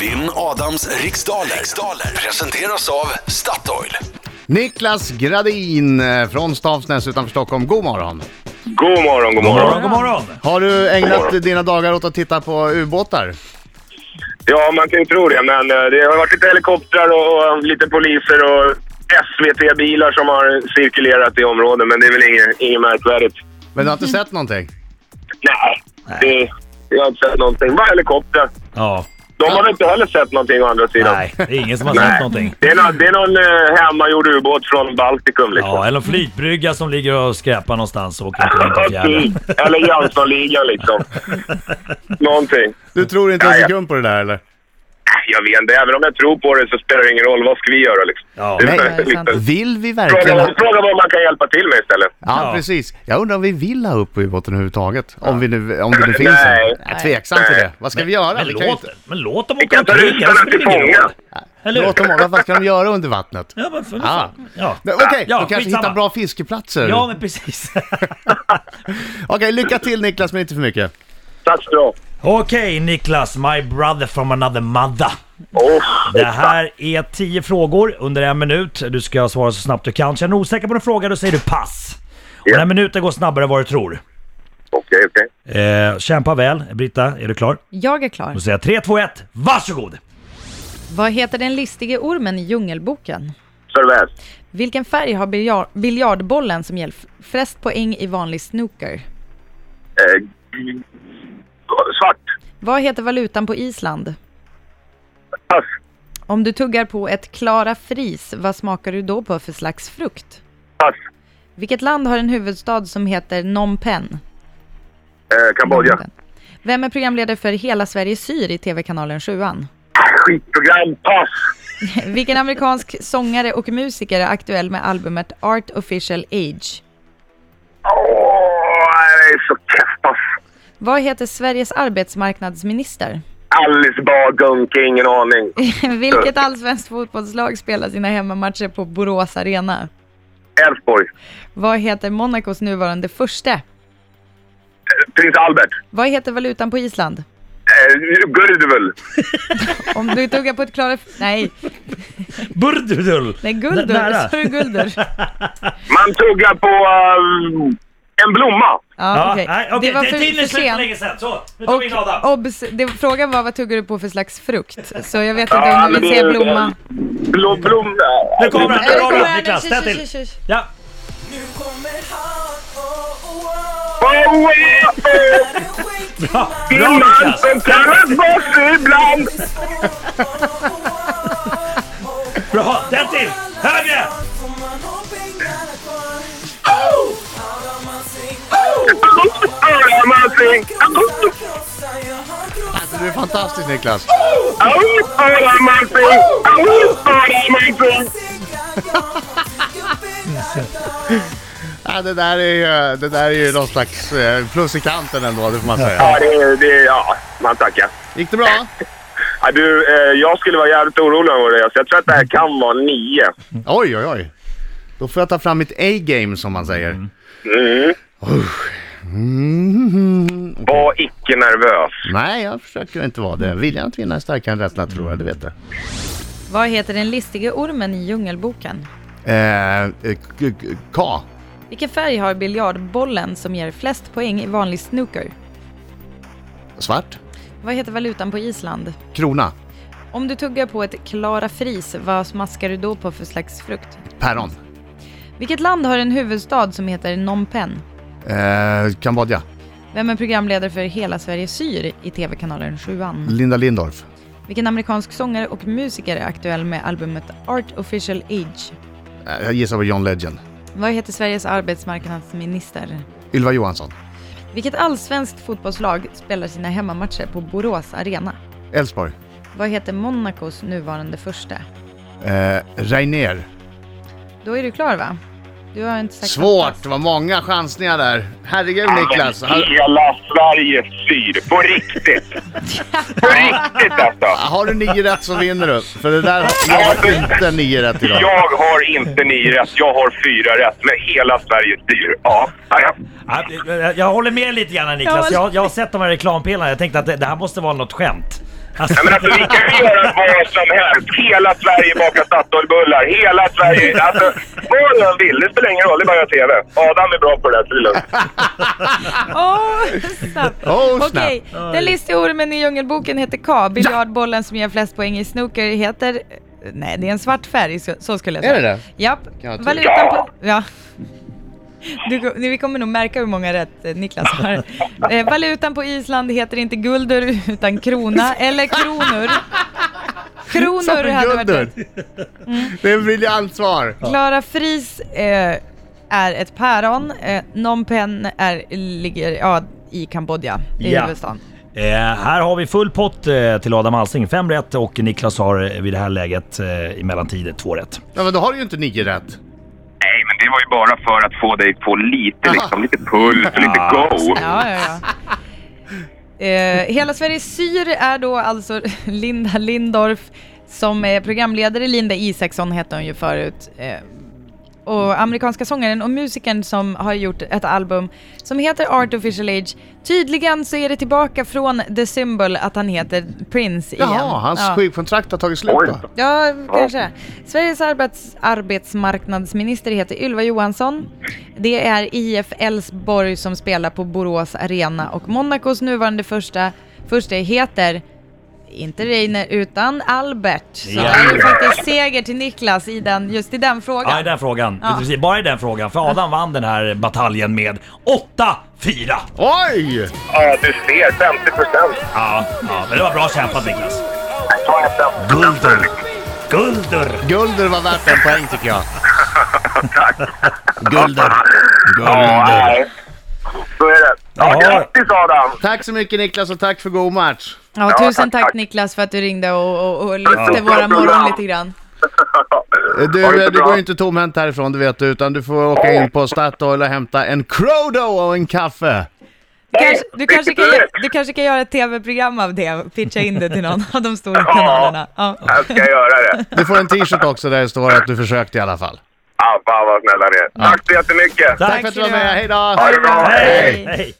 Vinn Adams riksdaler. riksdaler presenteras av Statoil. Niklas Gradin eh, från Stavsnäs utanför Stockholm, god morgon! God morgon, god God morgon. morgon, god morgon. Har du God ägnat morgon. dina dagar åt att titta på ubåtar? Ja, man kan ju tro det, men eh, det har varit lite helikoptrar och och lite poliser och SVT-bilar som har cirkulerat i området, men det är väl inget, inget märkvärdigt. Men du har Mm. inte sett någonting? Nej, det, jag har inte sett någonting. Bara helikoptrar. Ja, De har väl inte heller sett någonting å andra sidan. nej, det är ingen som har sett någonting. Det är någon, det är någon eh, hemmagjord ubåt från Baltikum liksom. Ja, eller en flytbrygga som ligger och skräpar någonstans och åker inte runt på fjärden. Eller Jönssonligan liksom. Någonting. Du tror inte en Nej, jag- sekund på det där eller? Jag vet inte. Även om jag tror på det så spelar det ingen roll. Vad ska vi göra liksom? Ja. Det är Nej. väl- Ja, det är sant. Vill vi Fråga, verkligen ha... vad- fråga vad man kan hjälpa till med istället. Ja, Ja. precis. Jag undrar om vi vill ha upp ubåten överhuvudtaget? Om, vi nu, om det nu finns en? Nej. Jag är tveksam till det. Vad ska vi göra? Men Vi kan ju låt, inte- men låt dem Vi åka kan ta omkring, ryssarna annars spelar till det ingen fånga. roll. Eller hur? Låt dem åka. Vad ska de göra under vattnet? Ja, men för Ah. fan. Ja. Men Okej, Ja, de kanske skitsamma. hittar bra fiskeplatser. ja, men precis. Okej, lycka till Niklas, men inte för mycket. Tack så bra. Okej Niklas, my brother from another mother. Oh, Det här är 10 frågor under en minut. Du ska svara så snabbt du kan. Känner du osäker på en fråga, då säger du pass. Och Ja. den här minuten går snabbare än vad du tror. Okej, okej. Eh, kämpa väl. Britta, är du klar? Jag är klar. Då säger jag 3, 2, 1, varsågod! Vad heter den listige ormen i Djungelboken? Servais. Vilken färg har biljar- biljardbollen som ger f- flest poäng i vanlig snooker? Eh, g- svart. Vad heter valutan på Island? Pass. Om du tuggar på ett Klara Fris, vad smakar du då på för slags frukt? Pass. Vilket land har en huvudstad som heter Phnom Penh? Eh, Kambodja. Mm. Vem är programledare för Hela Sverige syr i TV-kanalen Sjuan? Ah, Skitprogram. Pass. Vilken amerikansk sångare och musiker är aktuell med albumet Art Official Age? Åh, det är så kass. Pass. Vad heter Sveriges arbetsmarknadsminister? Alice Bah Gunke, ingen aning. Vilket allsvenskt fotbollslag spelar sina hemmamatcher på Borås Arena? Elfsborg. Vad heter Monacos nuvarande förste? Eh, Prins Albert. Vad heter valutan på Island? Eh, Gurdvel. Om du tuggar på ett Klara... Nej, Burdudul! nej guldur. Nära. Sa du guldur? Man tuggar på eh, en blomma. Ja, Ja, okej. nej, okej. Det var för, Tiden är för slut för länge sedan. sent. Så, nu tar vi in Adam. Och obs, det, frågan var vad tuggar du på för slags frukt? Så jag vet inte om du vill säga blomma. Blom, blom, Nu kommer han, Nej, nu nu kommer kommer han. han, Niklas, Tjus, ställ tjus, till. tjus, tjus. Ja, Nu kommer han, oh, oh, oh. Oh, yeah. Är du skicklig bra, Det bra är man Alltså, Niklas! som kallas boss ibland. Bra, den till! Högre! Du är fantastisk Niklas. Ja, det, där är ju, det där är ju någon slags eh, plus i kanten ändå, det får man säga. Ja, det, är- det, är- ja, man tackar. Gick det bra? Ja, du, eh, jag skulle vara jävligt orolig över det, så jag tror att det här kan vara nio. Oj, oj, oj. Då får jag ta fram mitt A-game som man säger. Usch. Mm. Var icke nervös. Nej, jag försöker inte vara det. Viljan att vinna är starkare än rädslan att förlora, det vet jag. Vad heter den listige ormen i Djungelboken? Eh, eh, k- k- K. Vilken färg har biljardbollen som ger flest poäng i vanlig snooker? Svart. Vad heter valutan på Island? Krona. Om du tuggar på ett Klara Fris, vad smaskar du då på för slags frukt? Päron. Vilket land har en huvudstad som heter Phnom Penh? Eh, Kambodja. Vem är programledare för Hela Sverige syr i TV-kanalen Sjuan? Linda Lindorff. Vilken amerikansk sångare och musiker är aktuell med albumet Art Official Age? Eh, jag gissar på John Legend. Vad heter Sveriges arbetsmarknadsminister? Ylva Johansson. Vilket allsvenskt fotbollslag spelar sina hemmamatcher på Borås Arena? Elfsborg. Vad heter Monacos nuvarande första? Eh, Reiner. Då är du klar va? Du har inte sagt något Svårt, pass. det var många chansningar där. Herregud Niklas. Har, Alltså, Hela Sverige syr. På riktigt. På riktigt alltså. har du nio rätt så vinner du. För det där, jag har inte nio rätt idag. Jag har inte nio rätt, jag har fyra rätt. Men hela Sverige styr. Ja, ja, ja. Ja, Jag håller med lite grann Niklas. Jag, jag har sett de här reklampelarna. Jag tänkte att det, det här måste vara något skämt. Nej, men alltså, vi kan ju göra vad som helst. Hela Sverige bakar Statoilbullar. Hela Sverige... Alltså, vad de vill. Det spelar ingen roll. Det är bara att göra TV. Adam är bra på det där, så det är lugnt. Oh, snap. Oh, snap. Okej, den lista ormen i Djungelboken heter K. Biljardbollen som ger flest poäng i snooker heter... Nej, det är en svart färg, så, så skulle jag säga. Är det det? Japp. Kan jag tro. Valutan på... Ja. Du, ko- ni- vi kommer nog märka hur många rätt eh, Niklas har. Eh, valutan på Island heter inte guldur utan krona, eller kronor. Kronor hade varit rätt. Det är ett briljant svar. Klara Fris eh, är ett päron. Eh, Phnom Penh är, ligger ja, i Kambodja, i Ja. huvudstaden. Eh, här har vi full pott eh, till Adam Alsing. Fem rätt och Niklas har eh, vid det här läget eh, i mellantiden två rätt. Ja, men då har du ju inte nio rätt. Nej, men det var ju bara för att få dig på lite, liksom, lite puls och lite go. Ja, ja, ja. Eh, Hela Sverige syr är då alltså Linda Lindorff som är programledare. Linda Isaksson hette hon ju förut. Eh, och amerikanska sångaren och musikern som har gjort ett album som heter Artificial Age. Tydligen så är det tillbaka från The Symbol att han heter Prince igen. Jaha, hans Ja. skivkontrakt har tagit slut Oj. då. Ja, kanske. Sveriges arbets arbetsmarknadsminister heter Ylva Johansson. Det är IF Elfsborg som spelar på Borås Arena och Monacos nuvarande första, första heter inte Reiner utan Albert. Så Ja. det är faktiskt seger till Niklas i den, just i den frågan. Ja, i den frågan. Ja. Precis, Bara i den frågan. För Adam vann den här bataljen med 8-4. Oj! Ja, du ser. 50 procent. Ja, ja, men det var bra kämpat Niklas. Gulden. Guldur! Gulder var värt en poäng tycker jag. Gulder. Ja, Gulder. nej. Så är det. Ja, Ja. grattis Adam! Tack så mycket Niklas och tack för god match. Ja, Ja, tusen tack, tack tack. Niklas för att du ringde och, och, och lyfte Ja. våra morgon lite grann. Du, Ha det eh, du så bra. går ju inte tomhänt härifrån, det vet du, utan du får åka in på Statoil och hämta en Crodo och en kaffe. Kanske, du, kanske kan, Vilket du kanske kan göra ett tv-program av det, pitcha in det till någon av de stora Ja. kanalerna. Ja. Jag ska göra det. Du får en t-shirt också där det står att du försökte i alla fall. Ah, fan vad snälla ni är. Tack så jättemycket! Tack för att du var med, hejdå! Ha det bra! Hej! Hej!